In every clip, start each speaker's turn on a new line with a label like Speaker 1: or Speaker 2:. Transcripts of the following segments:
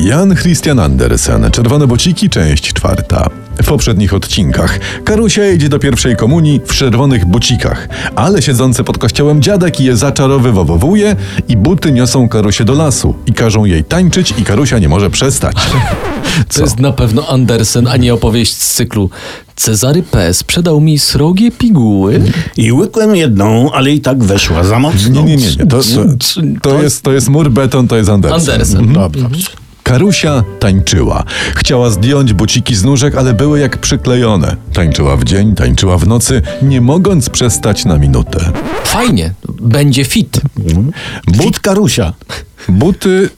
Speaker 1: Jan Christian Andersen, Czerwone Bociki, część czwarta. W poprzednich odcinkach Karusia idzie do pierwszej komunii w czerwonych bocikach, ale siedzący pod kościołem dziadek je zaczarowywowowuje i buty niosą Karusię do lasu i każą jej tańczyć i Karusia nie może przestać.
Speaker 2: To jest na pewno Andersen, a nie opowieść z cyklu Cezary P. sprzedał mi srogie piguły.
Speaker 3: I łykłem jedną, ale i tak weszła za mocno.
Speaker 1: Nie, nie, nie, nie. To, No, to, jest, to jest mur beton, to jest Andersen.
Speaker 2: Andersen.
Speaker 3: Dobra.
Speaker 1: Karusia tańczyła. Chciała zdjąć buciki z nóżek, ale były jak przyklejone. Tańczyła w dzień, tańczyła w nocy, nie mogąc przestać na minutę.
Speaker 2: Fajnie, będzie fit.
Speaker 1: Mhm.
Speaker 3: But Karusia.
Speaker 1: Buty.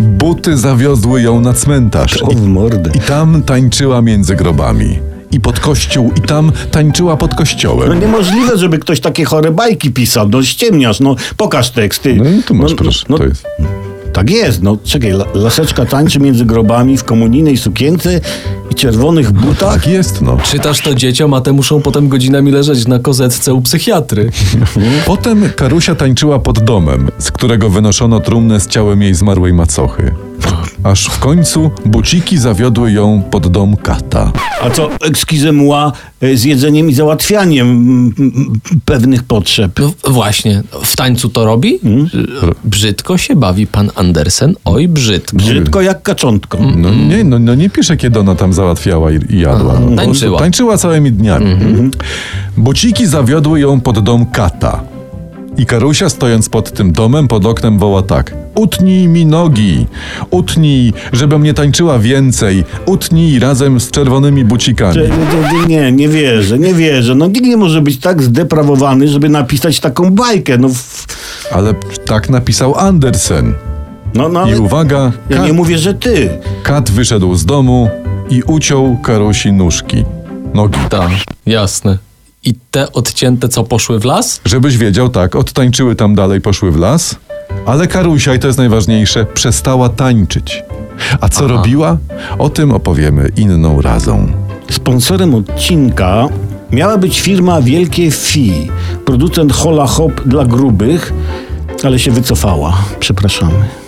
Speaker 1: Buty zawiozły ją na cmentarz.
Speaker 3: O, w mordę.
Speaker 1: I, I tam tańczyła między grobami. I pod kościół, i tam tańczyła pod
Speaker 3: No
Speaker 1: kościołem.
Speaker 3: niemożliwe, żeby ktoś takie chore bajki pisał. No ściemniasz, no pokaż teksty.
Speaker 1: No i tu masz, proszę, to jest.
Speaker 3: Tak jest, no czekaj, la- laseczka tańczy między grobami w komunijnej sukience i czerwonych butach.
Speaker 1: Tak jest, no.
Speaker 2: Czytasz to dzieciom, a te muszą potem godzinami leżeć na kozetce u psychiatry.
Speaker 1: Potem Karusia tańczyła pod domem, z którego wynoszono trumnę z ciałem jej zmarłej macochy. Aż w końcu buciki zawiodły ją pod dom kata.
Speaker 3: A co ekskizemła z jedzeniem i załatwianiem mm, mm, pewnych potrzeb.
Speaker 2: No właśnie, w tańcu to robi? Brzydko się bawi pan Andersen, oj brzydko.
Speaker 3: Brzydko jak kaczątko.
Speaker 1: No nie, no, no nie pisze, kiedy ona tam załatwiała i, i jadła. No,
Speaker 2: Tańczyła.
Speaker 1: Tańczyła całymi dniami. Buciki zawiodły ją pod dom kata. I Karusia stojąc pod tym domem, pod oknem woła tak. Utnij mi nogi, utnij, żebym nie tańczyła więcej, utnij razem z czerwonymi bucikami.
Speaker 3: Że- że- Nie, nie wierzę, nie wierzę. No nikt nie może być tak zdeprawowany, żeby napisać taką bajkę. No, w-
Speaker 1: Ale tak napisał Andersen.
Speaker 3: no, no
Speaker 1: I
Speaker 3: ale
Speaker 1: uwaga,
Speaker 3: ja
Speaker 1: kat,
Speaker 3: nie mówię, że ty.
Speaker 1: kat wyszedł z domu i uciął Karusi nóżki, nogi.
Speaker 2: Tak, jasne. I te odcięte, co poszły w las?
Speaker 1: Żebyś wiedział, tak, odtańczyły tam dalej, poszły w las, ale Karusia, i to jest najważniejsze, przestała tańczyć. A co robiła? O tym opowiemy inną razą.
Speaker 3: Sponsorem odcinka miała być firma Wielkie Fi, producent hola hop dla grubych, ale się wycofała. Przepraszamy.